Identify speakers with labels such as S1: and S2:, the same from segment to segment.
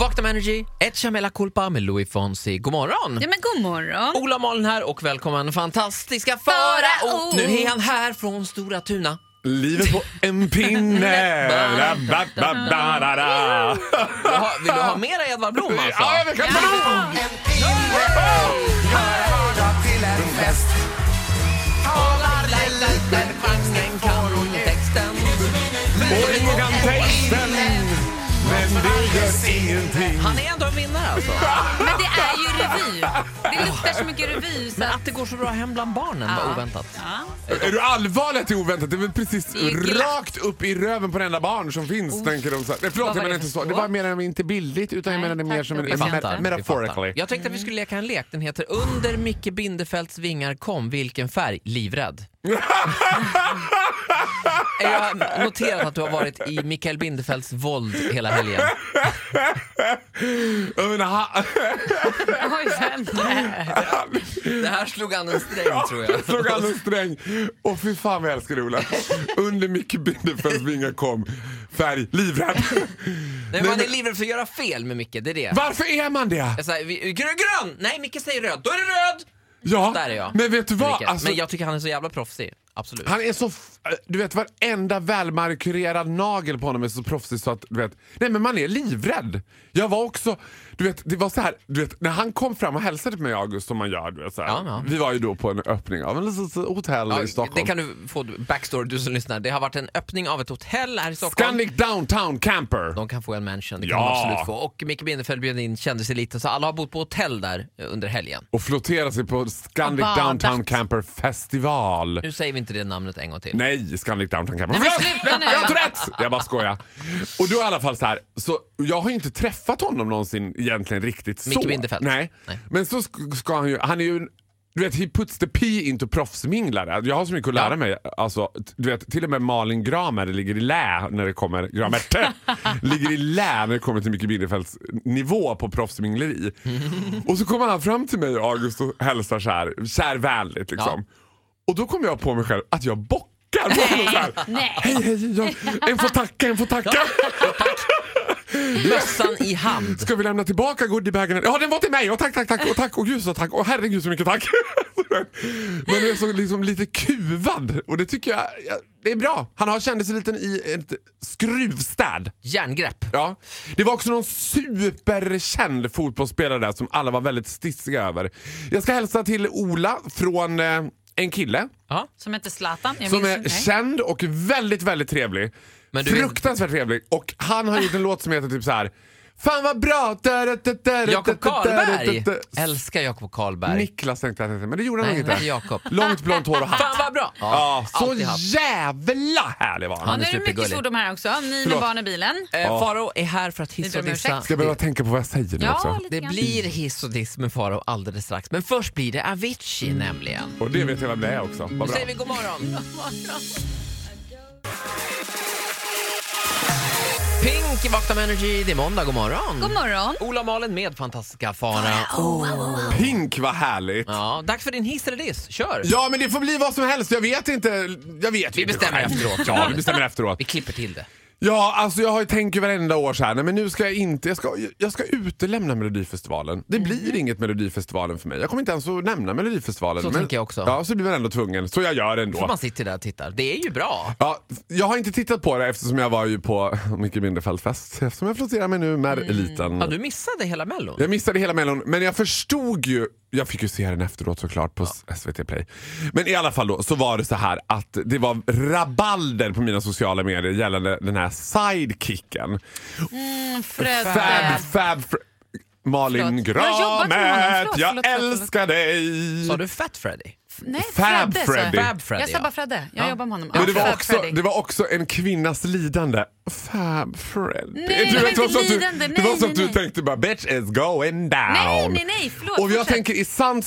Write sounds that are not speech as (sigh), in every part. S1: Magnum Energy, ett Chamela Culpa med Louis Fonsi. God morgon!
S2: Ja, men god morgon.
S1: Ola Malin här och välkommen fantastiska Farao!
S2: Farao!
S1: Nu är han här från Stora Tuna.
S3: Livet på
S1: (laughs)
S3: en pinne. La, ba, ba, ba, da, da.
S1: Vill du ha, vill du ha mera Edvard Blom alltså?
S3: Ja, men kan man
S2: Ja.
S3: Och ingen kan texten. Men det gör ingenting.
S1: Han är ändå en vinnare alltså.
S2: Men det är ju revy. Det luktar så mycket revy. Så
S1: Men
S2: att,
S1: att det går så bra hem bland barnen
S2: Ja.
S1: var oväntat.
S2: ja.
S3: Är du allvarlig att det är oväntat? Det är väl precis
S2: är glatt.
S3: rakt upp i röven på den enda barn som finns, tänker de. Så här. Nej,
S1: Vad
S3: förlåt,
S1: var
S3: jag menar
S1: det
S3: inte så.
S1: för
S3: Det
S1: så?
S3: var mer än inte bildligt, utan jag
S2: Nej,
S3: menade
S2: tack,
S3: mer som
S2: jag
S3: en,
S1: Vi
S2: fattar.
S3: me-
S1: fattar, vi fattar.
S3: metaphorically.
S1: Jag tänkte att vi skulle leka en lek. Den heter Under Micke Bindefelds vingar kom, vilken färg? Livrädd. Jag har noterat att du har varit i Mikael Bindefelds våld hela helgen.
S3: Jag menar, ha-
S2: Oj, vänta.
S1: Det här slog an en sträng tror
S3: (laughs)
S1: jag.
S3: Jag slog an en sträng. Och fy fan vad jag älskar det, Ola. Under Micke Bindefelds vingar kom färg livrädd.
S1: Nej, man är livrädd för att göra fel med Micke, det är det.
S3: Varför är man det?
S1: Jag säger, vi- grön, grön! Nej, Micke säger röd. Då är det röd!
S3: Ja,
S1: Där är jag.
S3: men vet du vad?
S1: Micke.
S3: Alltså,
S1: Men jag tycker han är så jävla proffsig. Absolut.
S3: Han är så... f- eh, Du vet, varenda välmarkurerad nagel på honom är så proffsig så att du vet... Nej men man är livrädd. Jag var också... Du vet, det var så här, du vet, när han kom fram och hälsade på mig i August som man gör. Du vet, så här.
S1: Ja, ja.
S3: Vi var ju då på en öppning av en litet hotell i
S1: Ja,
S3: Stockholm.
S1: det kan du få backstory du som lyssnar. Det har varit en öppning av ett hotell här i Stockholm.
S3: Scandic Downtown Camper.
S1: De kan få en mansion, det kan
S3: Ja.
S1: de absolut få. Och Micke Bindefeld bjöd in kändiseliten, så alla har bott på hotell där eh, under helgen.
S3: Och flottera sig på Scandic
S2: Och badat.
S3: Downtown Camper Festival.
S1: Nu säger vi inte det namnet en gång till.
S3: Nej, Scandic Downtown Camper.
S2: men
S3: Förlåt!
S2: sluta nu.
S3: Jag har Tourettes! Jag bara skojar. Och då i alla fall så här, så jag har ju inte träffat honom någonsin egentligen riktigt så.
S1: Micke Bindefeld.
S3: Nej.
S1: Nej.
S3: Men så sk- ska han ju, han är ju en- du vet, he puts the P into proffsminglare. Jag har så mycket att lära
S1: Ja.
S3: mig. Alltså, t- du vet, till och med Malin Gramer ligger i lä när det kommer... Gramerte! ligger i lä när det kommer till Micke Bindefelds nivå på proffsmingleri. och så kommer han fram till mig, August, och hälsar så här, kärvänligt liksom. Och då kom jag på mig själv att jag bockar på honom (laughs) så här.
S2: Nej.
S3: Hej, hej, ja. en får tacka, en får tacka. (laughs)
S1: Mössan i hand.
S3: Ska vi lämna tillbaka goodiebagen? Ja, den var till mig! Och tack, tack, tack! Och tack, och gud så tack! Och herregud så mycket tack! (laughs) Men jag är så liksom lite kuvad och det tycker jag, jag det är bra. Han har kändiseliten i ett skruvstäd.
S1: Järngrepp.
S3: Ja. Det var också någon superkänd fotbollsspelare där som alla var väldigt stissiga över. Jag ska hälsa till Ola från eh, en kille
S1: Ja.
S2: Som heter Zlatan. Jag
S3: som
S2: minns
S3: är
S2: inte.
S3: känd och väldigt, väldigt trevlig.
S1: Men du är-
S3: Fruktansvärt trevlig. Och han har gjort en (laughs) låt som heter typ så här. Fan vad bra!
S1: Jakob
S3: Jakob
S1: Karlberg. Älskar Jakob Karlberg.
S3: Niklas tänkte jag att det hette, men det gjorde han
S1: Nej,
S3: nog
S1: inte
S3: inte.
S1: Jakob.
S3: Långt blont hår och
S1: Fan
S3: hatt.
S1: vad bra!
S3: Ja, så
S1: alltid hatt.
S3: jävla härlig var
S2: Ja,
S3: han.
S2: nu är det mycket
S1: supergullig.
S2: svordom här också. Ni med
S3: Förlåt.
S2: barn i bilen.
S1: Eh, Faro är här för att hissa
S2: Vi
S1: och
S2: ber om
S1: dissa.
S2: ursäkt.
S3: Ska jag behöva tänka på vad jag säger nu
S2: Ja,
S3: också?
S2: lite
S1: Det
S2: grann.
S1: blir hiss och diss med Faro alldeles strax. Men först blir det Avicii
S3: Mm.
S1: nämligen.
S3: Och det vet jag vem det är också. Vad
S1: Nu
S3: bra.
S1: säger vi god
S2: (laughs)
S1: morgon. Pink i Vakna med Energy. Det är måndag. God morgon.
S2: God morgon.
S1: Ola och Malin med fantastiska Farao.
S3: Pink vad härligt.
S1: Ja, dags för din hiss eller diss. Kör!
S3: Ja men det får bli vad som helst, jag vet inte. Jag vet ju inte
S1: bestämmer
S3: själv.
S1: efteråt.
S3: Ja, vi bestämmer efteråt.
S1: Vi klipper till det.
S3: Ja, alltså jag har ju tänkt ju varenda år så här, nej men nu ska jag inte, jag ska, jag ska utelämna Melodifestivalen.
S1: Mm.
S3: Det blir inget Melodifestivalen för mig. Jag kommer inte ens att nämna Melodifestivalen.
S1: Så
S3: men,
S1: tänker jag också.
S3: Ja, så blir man ändå tvungen. Så jag gör
S1: För
S3: ändå.
S1: man sitter där och tittar. Det är ju bra.
S3: Ja, jag har inte tittat på det eftersom jag var ju på (laughs) Micke Bindefeldt-fest. Eftersom jag flotterar mig nu med eliten.
S1: Mm. Ja, du missade hela mellon.
S3: Jag missade hela Mellon, men jag förstod ju. Jag fick ju se den efteråt såklart på SVT Play. Men i alla fall då så var det så här att det var rabalder på mina sociala medier gällande den här sidekicken.
S2: Fröbe.
S3: Fab, fab, fr- Malin
S2: Förlåt. Jag har jobbat med honom.
S3: Gramet,
S2: Förlåt,
S3: jag
S2: förlåt, förlåt,
S3: älskar dig!
S1: Sa du Fat Freddy?
S2: Nej,
S3: Fab
S2: Fredde, sa jag.
S3: Freddy.
S1: Fab Freddy,
S2: Jag sa
S1: ja.
S2: bara Fredde. Jag
S1: Ja.
S2: jobbar med honom.
S3: Men det
S2: Ja,
S3: var,
S2: Fab
S3: också,
S2: Freddy.
S3: det var också en kvinnas lidande. Fab Freddy.
S2: Nej, det var
S3: det var
S2: inte
S3: som att du,
S2: lidande.
S3: det
S2: Nej,
S3: var som
S2: nej,
S3: du
S2: nej.
S3: tänkte bara bitch is going down.
S2: Nej, nej, nej, förlåt.
S3: Och jag
S2: fortsätt.
S3: tänker i sant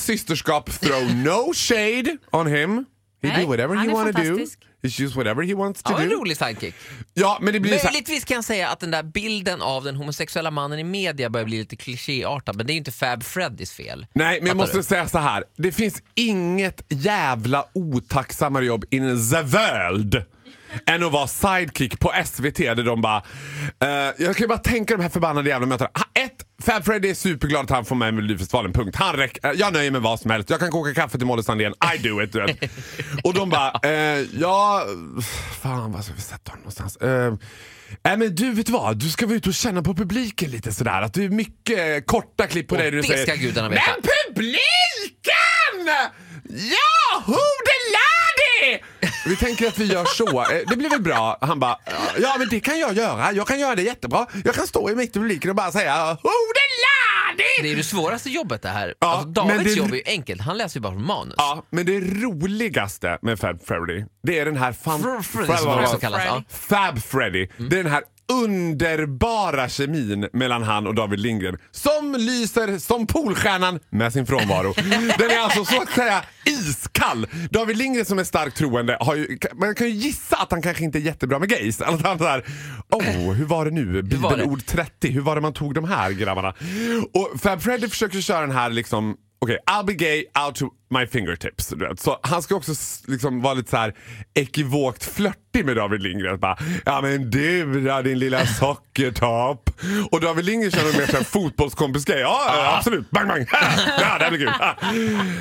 S2: (laughs)
S3: systerskap, throw no shade on him. He
S2: Nej,
S3: do whatever
S2: han
S3: he
S2: är
S3: wanna do.
S2: fantastisk.
S3: He choose whatever he wants to
S1: Ja, en
S3: do.
S1: rolig sidekick.
S3: Ja, men det blir så här,
S1: Möjligtvis kan jag säga att den där bilden av den homosexuella mannen i media börjar bli lite klichéartad, men det är ju inte Fab Freddys fel.
S3: Nej, men jag
S1: Fattar
S3: måste
S1: du?
S3: säga så här. Det finns inget jävla otacksammare jobb in the world än att vara sidekick på SVT där de bara... eh, jag kan ju bara tänka de här förbannade jävla mötena. Ha- Ett, Fab Freddy är superglad att han får med i Melodifestivalen. Punkt. Han räck, eh, jag nöjer mig med vad som helst. Jag kan koka kaffe till Molly Sandén. I do it. du vet. och de bara, eh, ja... Fan, vad ska vi sätta honom någonstans? Eh, Nej men du vet vad, du ska vara ute och känna på publiken lite sådär. Att det är mycket eh, korta klipp på
S1: Och
S3: dig där du
S1: det
S3: säger
S1: ska gudarna veta.
S3: Men publiken! Ja, who the lady! Vi tänker att vi gör så. Eh, Det blir väl bra? Han bara, ja men det kan jag göra. Jag kan göra det jättebra. Jag kan stå i mitt i publiken och bara säga who the
S1: Det
S3: lady!
S1: är ju det svåraste jobbet det här.
S3: Ja,
S1: alltså, Davids
S3: men det-
S1: jobb är ju enkelt, han läser ju bara från manus.
S3: Ja, men det roligaste med Fab Freddy, det är den här fan...
S1: Fr- Freddy som han också kallas. Ja.
S3: Fab Freddy. Det är den här underbara kemin mellan han och David Lindgren som lyser som Polstjärnan med sin frånvaro. Den är alltså så att säga iskall. David Lindgren som är starkt troende, har ju, man kan ju gissa att han kanske inte är jättebra med gays. Att han såhär, oh, hur var det nu?
S1: var det?"
S3: Bibelord 30, hur var det man tog de här grabbarna? Och Fab Freddy försöker köra den här liksom Okej, I'll be gay out to my fingertips. du vet. Så han ska också s- liksom vara lite så här ekivokt flörtig med David Lindgren. Bara, ja men du då din lilla sockertopp. Och David Lindgren känner mer som en fotbollskompis-grej. Ja, ja, absolut, bang bang. Ja, det här blir kul.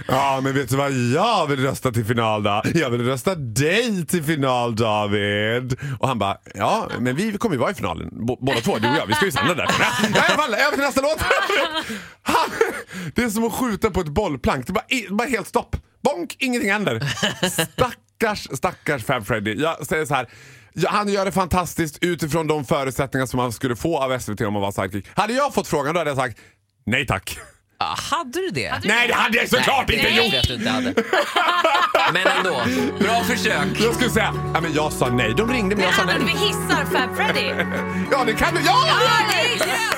S3: Ja men vet du vad jag vill rösta till final då? Jag vill rösta dig till final David. Och han bara, ja men vi kommer ju vara i finalen b- båda två, du och jag. Vi ska ju samla (laughs) där. Ja, i alla fall, över till nästa låt. (laughs) Han, det är som att skjuta på ett bollplank. Det är bara, i- bara helt stopp. Bonk, ingenting händer. Stackars, stackars Fab Freddy. Jag säger så här. ja, Han gör det fantastiskt utifrån de förutsättningar som han skulle få av SVT om han var sidekick. Hade jag fått frågan då hade jag sagt nej tack.
S1: Ah, hade du det?
S3: Nej det hade jag såklart
S1: Nej,
S3: inte
S1: det
S3: gjort!
S1: vet du inte hade.
S3: (laughs)
S1: Men ändå, bra försök.
S3: Jag skulle säga, ja, men jag sa nej. De ringde
S2: Men
S3: men jag sa nej.
S2: använder vi hissar Fab Freddy?
S3: Ja det kan du, ja!
S2: Ja,
S3: ja!
S2: det är yes!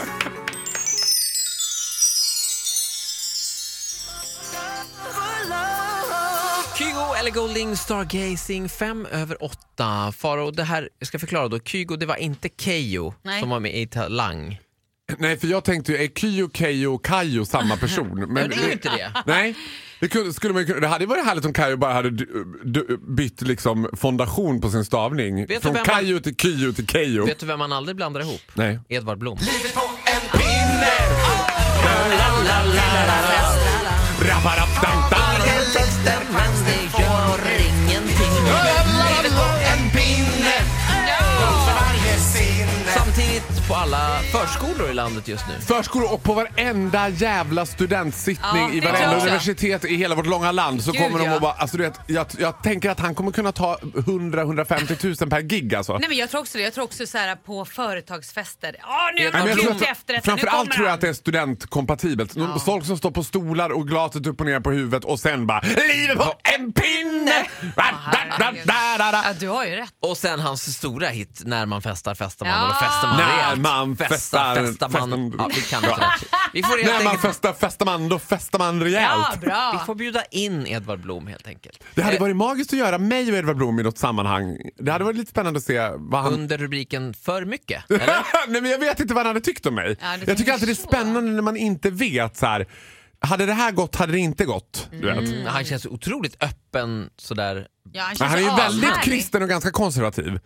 S1: Kygo eller Golding Stargazing fem över åtta. Faro, det här, jag ska förklara då. Kygo, det var inte Keyyo
S2: Nej.
S1: som var med i Talang.
S3: Nej för jag tänkte ju, är Kyo, Keyyo och Kayo samma person? Men
S1: det är ju inte det.
S3: Nej. Det, kunde, skulle man, ju kunna- det hade ju varit härligt om Kayo bara hade d- d- bytt liksom fondation på sin stavning.
S1: du
S3: Från
S1: vem man-
S3: Kayo till Kyo till Kejo.
S1: Vet du vem man aldrig blandar ihop?
S3: Nej.
S1: Edvard Blom.
S3: Rabarabdamdam.
S1: Samtidigt på alla förskolor i landet just nu.
S3: Förskolor och på varenda jävla studentsittning
S2: Ja,
S3: i
S2: det
S3: varenda
S2: tror jag.
S3: universitet i hela vårt långa land så
S1: Gud,
S3: kommer de
S1: ja.
S3: att bara... Alltså, du vet, jag, jag tänker att han kommer kunna ta 100-150 000 per gig alltså.
S2: Nej men jag tror också det. Jag tror också så här på företagsfester. Ja, nu
S1: Nej,
S2: har
S1: men
S2: man
S3: jag
S1: tror
S2: gjort efterrätten. Nu
S3: framförallt
S2: kommer
S3: tror jag att
S2: han.
S3: det är studentkompatibelt. Ja. Folk som står på stolar och glaset upp och ner på huvudet och sen bara Livet på en pinne! Da, da, da, da, da, da.
S2: Ja, du har ju rätt.
S1: Och sen hans stora hit, När man festar festar man.
S2: Ja.
S1: Och då festar man
S3: När
S1: rejält.
S3: man festar-
S1: festar man.
S3: festar-
S1: Ja, vi kan inte det. här. Vi får, helt
S3: När man
S1: enkelt,
S3: festar festar man, då festar man
S2: Ja,
S3: rejält.
S1: vi
S2: bra.
S1: får bjuda in Edvard Blom helt enkelt.
S3: det hade varit magiskt att göra mig och Edvard Blom i något sammanhang. Det hade varit lite spännande att se vad han...
S1: Under rubriken För mycket. Eller?
S3: (laughs) Nej, men jag vet inte vad han hade tyckt om mig.
S2: Ja, det
S3: jag tycker
S2: tänker
S3: alltid det är
S2: så.
S3: spännande när man inte vet. Så här, hade det här gått, hade det inte gått? Du vet.
S1: Mm, Han känns otroligt öppen sådär.
S2: Ja, han,
S3: Men
S2: känns
S3: han är ju
S2: ashärlig.
S3: väldigt kristen och ganska konservativ.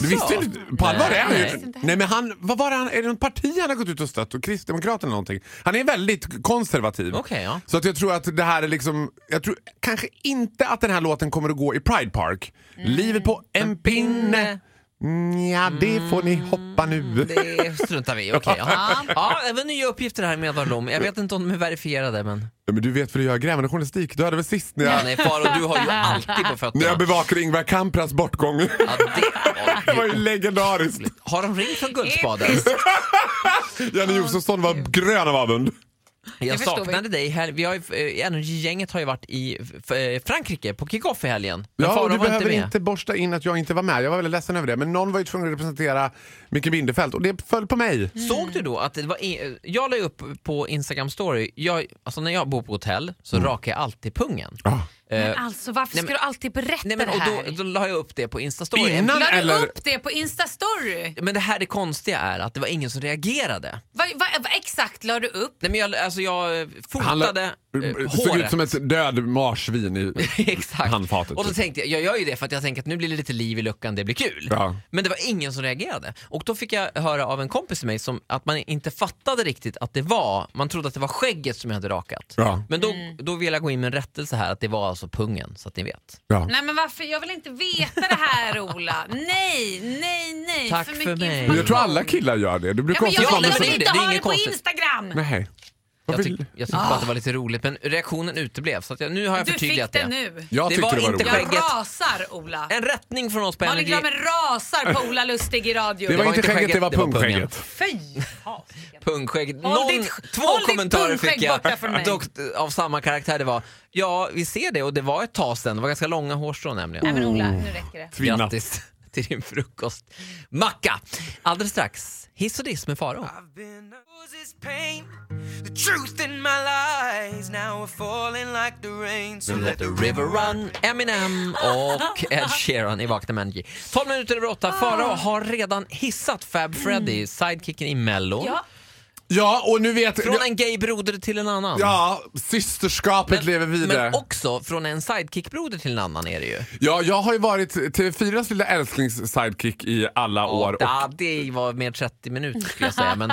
S3: Du visste ju inte, på allvar är han
S1: Nej, jag
S2: visste
S3: ju...
S2: inte.
S3: Nej men han, vad var det han, är det något parti han har gått ut och stött? Och Kristdemokraterna eller någonting? Han är väldigt konservativ.
S1: Okej, ja.
S3: Så att jag tror att det här är liksom, jag tror kanske inte att den här låten kommer att gå i Pride Park. Livet på en pinne. Mm, ja, det får ni hoppa nu.
S1: Det struntar vi i. Okej, ja. ja, även nya uppgifter här med Edvard Blom. Jag vet inte om de är verifierade men...
S3: Ja, Men du vet väl hur jag är grävande journalistik? Du hade väl sist när jag,
S1: Nej Faro, du har ju alltid på
S3: när
S1: fötterna.
S3: jag bevakade Ingvar Kamprads bortgång.
S1: Ja, det... ja,
S3: (laughs) Det var ju legendariskt.
S1: Har de ringt från Guldspaden?
S3: Janne Josefsson var grön av avund.
S1: Jag
S2: Det förstår
S1: saknade dig. Här, vi har ju, eh, Energy-gänget har ju varit i f- eh, Frankrike på kick-off i helgen. Men
S3: Ja,
S1: Faro
S3: och du
S1: var
S3: behöver
S1: inte med.
S3: inte, borsta in att jag inte var med. Jag var väldigt ledsen över det. Men någon var ju tvungen att representera Micke Bindefeld och det föll på mig.
S1: Såg du då att det var... i- eh, Jag
S3: Mm.
S1: la ju upp på Instagram story, jag, alltså när jag bor på hotell så rakar jag alltid pungen.
S3: Ja.
S2: Men alltså varför
S1: nej,
S2: ska du alltid berätta
S1: Nej, men,
S2: det
S1: och
S2: här?
S1: då, då la jag upp det på Instastory.
S3: Innan
S2: La
S3: eller-
S2: du upp det på Instastory?
S1: Men det här det konstiga är att det var ingen som reagerade.
S2: Vad vad- vad exakt la du upp?
S1: Nej, men jag, alltså, jag eh,
S3: Han la-
S1: fotade eh,
S3: såg
S1: håret.
S3: ut som ett död marsvin i
S1: (laughs) Exakt.
S3: handfatet.
S1: Och då
S3: typ.
S1: tänkte jag, jag gör ju det för att jag tänker att nu blir det lite liv i luckan, det blir kul.
S3: Ja.
S1: Men det var ingen som reagerade. Och då fick jag höra av en kompis till mig som, att man inte fattade riktigt att det var, man trodde att det var skägget som jag hade rakat.
S3: Ja,
S1: Men då,
S2: Mm.
S1: då vill jag gå in med en rättelse här, att det var alltså pungen, så att ni vet.
S3: ja.
S2: Nej men varför? Jag vill inte veta det
S1: (laughs)
S2: här Ola. Nej, nej, nej.
S1: Tack
S2: för,
S1: för
S2: mycket
S1: mig.
S2: information.
S3: Men jag tror alla killar gör det. Det blir
S2: Ja, men
S3: konstigt
S1: Ja,
S2: jag
S3: om
S1: men
S2: vill,
S3: man
S2: jag
S1: det är det.
S2: vill inte
S3: säger...
S1: Det är
S2: ha det
S1: inget
S2: på
S1: konstigt.
S2: Instagram.
S3: Nej. Vad
S1: Jag,
S3: vill-
S1: tyck, jag tyckte bara att det var lite roligt, men reaktionen uteblev. Så att jag, nu har jag
S2: Ah. Du
S1: förtydligat
S2: fick
S1: det.
S2: det nu.
S3: Jag
S1: Det
S3: tyckte
S1: var
S3: det var
S1: inte
S3: roligt.
S1: skägg.
S2: Jag
S1: Skägget.
S2: rasar Ola.
S1: En rättning från oss på
S2: Malin
S1: Energy.
S2: Gramer rasar på Ola Lustig i radio.
S3: Det var
S1: var
S3: inte
S1: inte
S3: skägget, det var
S1: skägget, det var
S3: pungskägget.
S2: Fy
S1: Pungskägg.
S2: Håll
S1: Någon,
S2: ditt-
S1: två
S2: håll ditt
S1: kommentarer
S2: pungskägg
S1: fick jag
S2: borta från mig.
S1: dock, eh, av samma karaktär. Det var ja, vi ser det och det var ett tag sedan. Det var ganska långa hårstrån nämligen.
S2: Nej men Ola, nu räcker det.
S3: Tvinnat.
S1: Grattis (laughs) till din frukostmacka. Alldeles strax, hiss och diss med Faro.
S4: I've been this pain. The truth in my lies now are falling like the rain. So let the river run.
S1: Eminem
S2: (laughs)
S1: och Ed Sheeran i Vakna med Energy. 12 minuter över 8.
S2: Ah.
S1: Farao har redan hissat Fab Freddy, sidekicken i Mello.
S2: Mm. Ja.
S3: Ja, och nu vet...
S1: Från en gay broder till en annan.
S3: Ja, systerskapet lever vidare.
S1: Men också från en sidekickbroder till en annan är det ju.
S3: Ja, jag har ju varit TV4s lilla älsklings-sidekick i alla år. Och,
S1: Ja, det var mer 30 minuter skulle jag säga. Men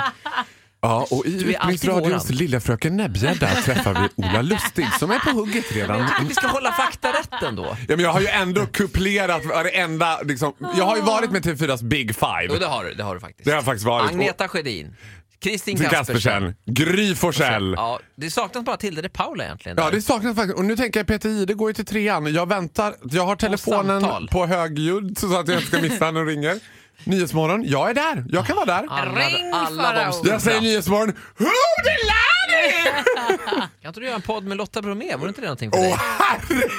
S3: ja, och i
S1: Du är alltid
S3: Utbildningsradions
S1: våran.
S3: Lilla Fröken Näbbgädda träffar vi
S1: (laughs)
S3: Ola Lustig som är på hugget redan.
S1: vi ska hålla fakta rätt ändå.
S3: Ja, men jag har ju ändå kuplerat varenda... Liksom, jag har ju varit med TV4s Big
S1: Jo,
S3: Five.
S1: det har du, det har du faktiskt.
S3: Det har jag faktiskt varit.
S1: Agneta Sjödin, Kristin
S3: Till
S1: Kaspersen.
S3: Kaspersen, Gry Forssell.
S1: Ja, det saknas bara Tilde de Paula egentligen.
S3: Ja,
S1: där.
S3: det saknas faktiskt. Och nu tänker jag Peter Jihde går ju till trean. Jag väntar. Jag har telefonen
S1: samtal.
S3: på högljudd så att jag inte ska missa när de
S1: (laughs)
S3: ringer. Nyhetsmorgon, jag är där. Jag kan vara där.
S1: alla,
S2: Ring
S1: alla
S2: Farao.
S1: de stora.
S3: Jag säger Nyhetsmorgon,
S1: (laughs)
S3: Hoodilani!
S1: Kan inte du göra en podd med Lotta Bromé? Vore inte det någonting för
S3: Åh
S1: dig?
S3: herregud!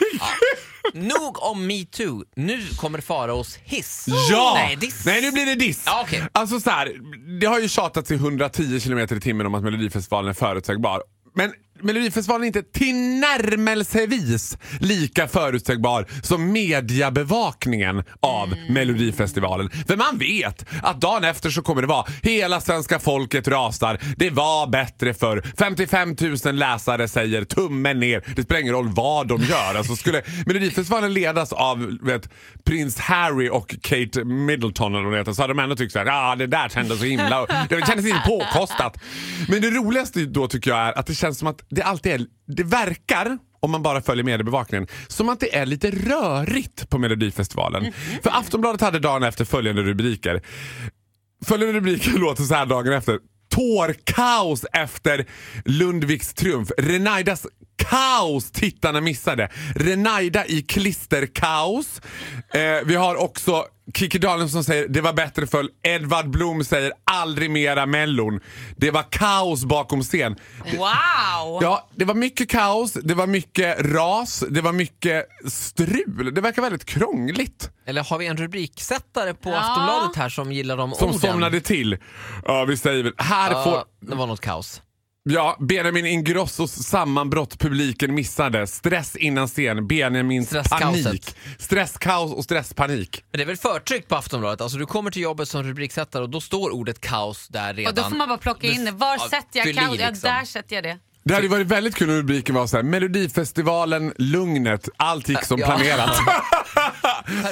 S1: Nog om metoo. Nu kommer Faraos hiss.
S3: Ja!
S1: Nej, diss.
S3: nu blir det diss.
S1: Ja, okej.
S3: Alltså så här, det har ju tjatats i 110 km i timmen om att Melodifestivalen är förutsägbar. Men Melodifestivalen är inte tillnärmelsevis lika förutsägbar som mediebevakningen av
S1: Mm.
S3: Melodifestivalen. För man vet att dagen efter så kommer det vara hela svenska folket rasar. Det var bättre för 55 000 läsare säger tummen ner. Det spelar ingen roll vad de gör. Alltså skulle Melodifestivalen ledas av vet, prins Harry och Kate Middleton eller vad det heter, så hade de ändå tyckt så här, ah, det där kändes så himla... och Det kändes inte påkostat. Men det roligaste då tycker jag är att det känns som att det alltid är... Det verkar om man bara följer mediebevakningen, som att det är lite rörigt på Melodifestivalen. För Aftonbladet hade dagen efter följande rubriker. Följande rubriker (laughs) låter så här dagen efter. Tårkaos efter Lundviks triumf. Renaidas kaos tittarna missade. Renaida i klisterkaos. Eh, vi har också Kikki Danielsson som säger det var bättre för Edvard Blom säger aldrig mera Mellon. Det var kaos bakom scen.
S2: Wow!
S3: Ja, det var mycket kaos, det var mycket ras, det var mycket strul. Det verkar väldigt krångligt.
S1: Eller har vi en rubriksättare på
S2: Ja.
S1: Aftonbladet här som gillar de
S3: Som
S1: orden?
S3: somnade till. Ja, vi säger väl, här får...
S1: Ja, det var något kaos.
S3: Ja, Benjamin Ingrossos sammanbrott publiken missade. Stress innan scen, Benjamins
S1: Stresskaoset.
S3: panik. Stresskaos och stresspanik.
S1: Men det är väl förtryck på Aftonbladet? Alltså du kommer till jobbet som rubriksättare och då står ordet kaos där redan.
S2: Och då får man bara plocka in det. Var
S1: Ja,
S2: sätter jag
S1: fyll i
S2: kaos? Ja,
S1: liksom.
S2: där sätter jag det.
S3: Det hade ju varit väldigt kul om rubriken var så här, Melodifestivalen, lugnet, allt gick
S1: (laughs)
S3: som
S1: Ja. Ah.
S3: planerat.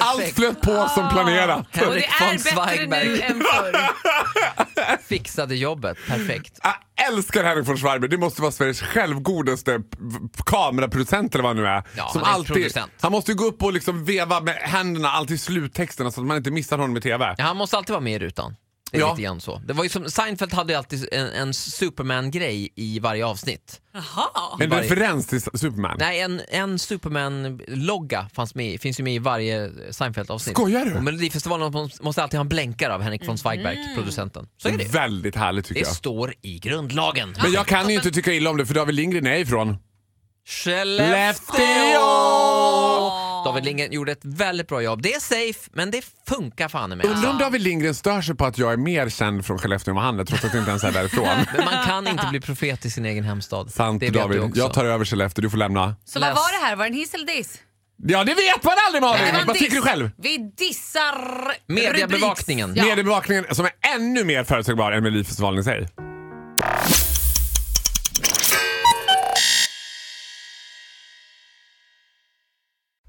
S3: (laughs) allt flöt på som planerat.
S2: Och det
S1: Henrik von
S2: är bättre nu
S1: Zweigbergk
S2: än förr.
S1: fixade jobbet perfekt.
S3: Jag älskar Henrik von Schwarber. Det måste vara Sveriges självgodaste p- p- kameraproducent eller vad han nu är.
S1: Ja, han är producent.
S3: han måste ju gå upp och liksom veva med händerna alltid i sluttexterna så att man inte missar honom i TV.
S1: Ja, han måste alltid vara med i rutan. Det är
S3: Ja.
S1: lite grann så. Det var ju som, Seinfeld hade ju alltid en, en Superman-grej i varje avsnitt.
S2: Jaha.
S3: En
S1: varje-
S3: referens till Superman.
S1: Nej, en, en Superman-logga fanns med, i- finns ju med i varje Seinfeld-avsnitt.
S3: Skojar du?
S1: Och Melodifestivalen måste- måste alltid ha en blänkare av Henrik von Zweigbergk,
S2: Mm.
S1: producenten. Så är det ju.
S3: Väldigt härligt tycker
S1: Det
S3: jag.
S1: står i grundlagen.
S3: Men jag kan ju inte tycka illa om det för David Lindgren är ifrån.
S1: Skellefteå!
S3: Skellefteå!
S1: David Lindgren gjorde ett väldigt bra jobb. Det är safe, men det funkar fan
S3: (laughs)
S1: i mig.
S3: Undrar om David Lindgren stör sig på att jag är mer känd från Skellefteå än vad han är trots att jag inte ens
S1: (laughs)
S3: är därifrån.
S1: Men man kan inte bli profet i sin egen hemstad.
S3: Sant
S1: det vet
S3: David,
S1: du också.
S3: jag tar över Skellefteå, du får lämna.
S2: Så vad
S1: Läs.
S2: var det här? Var det en hiss eller diss?
S3: Ja det vet man aldrig
S2: Det var
S3: Malin!
S2: en
S3: Vad
S2: diss.
S3: tycker du själv?
S2: Vi dissar
S1: Mediebevakningen.
S2: rubriks- Ja.
S3: Mediebevakningen som är ännu mer förutsägbar än Melodifestivalen i sig.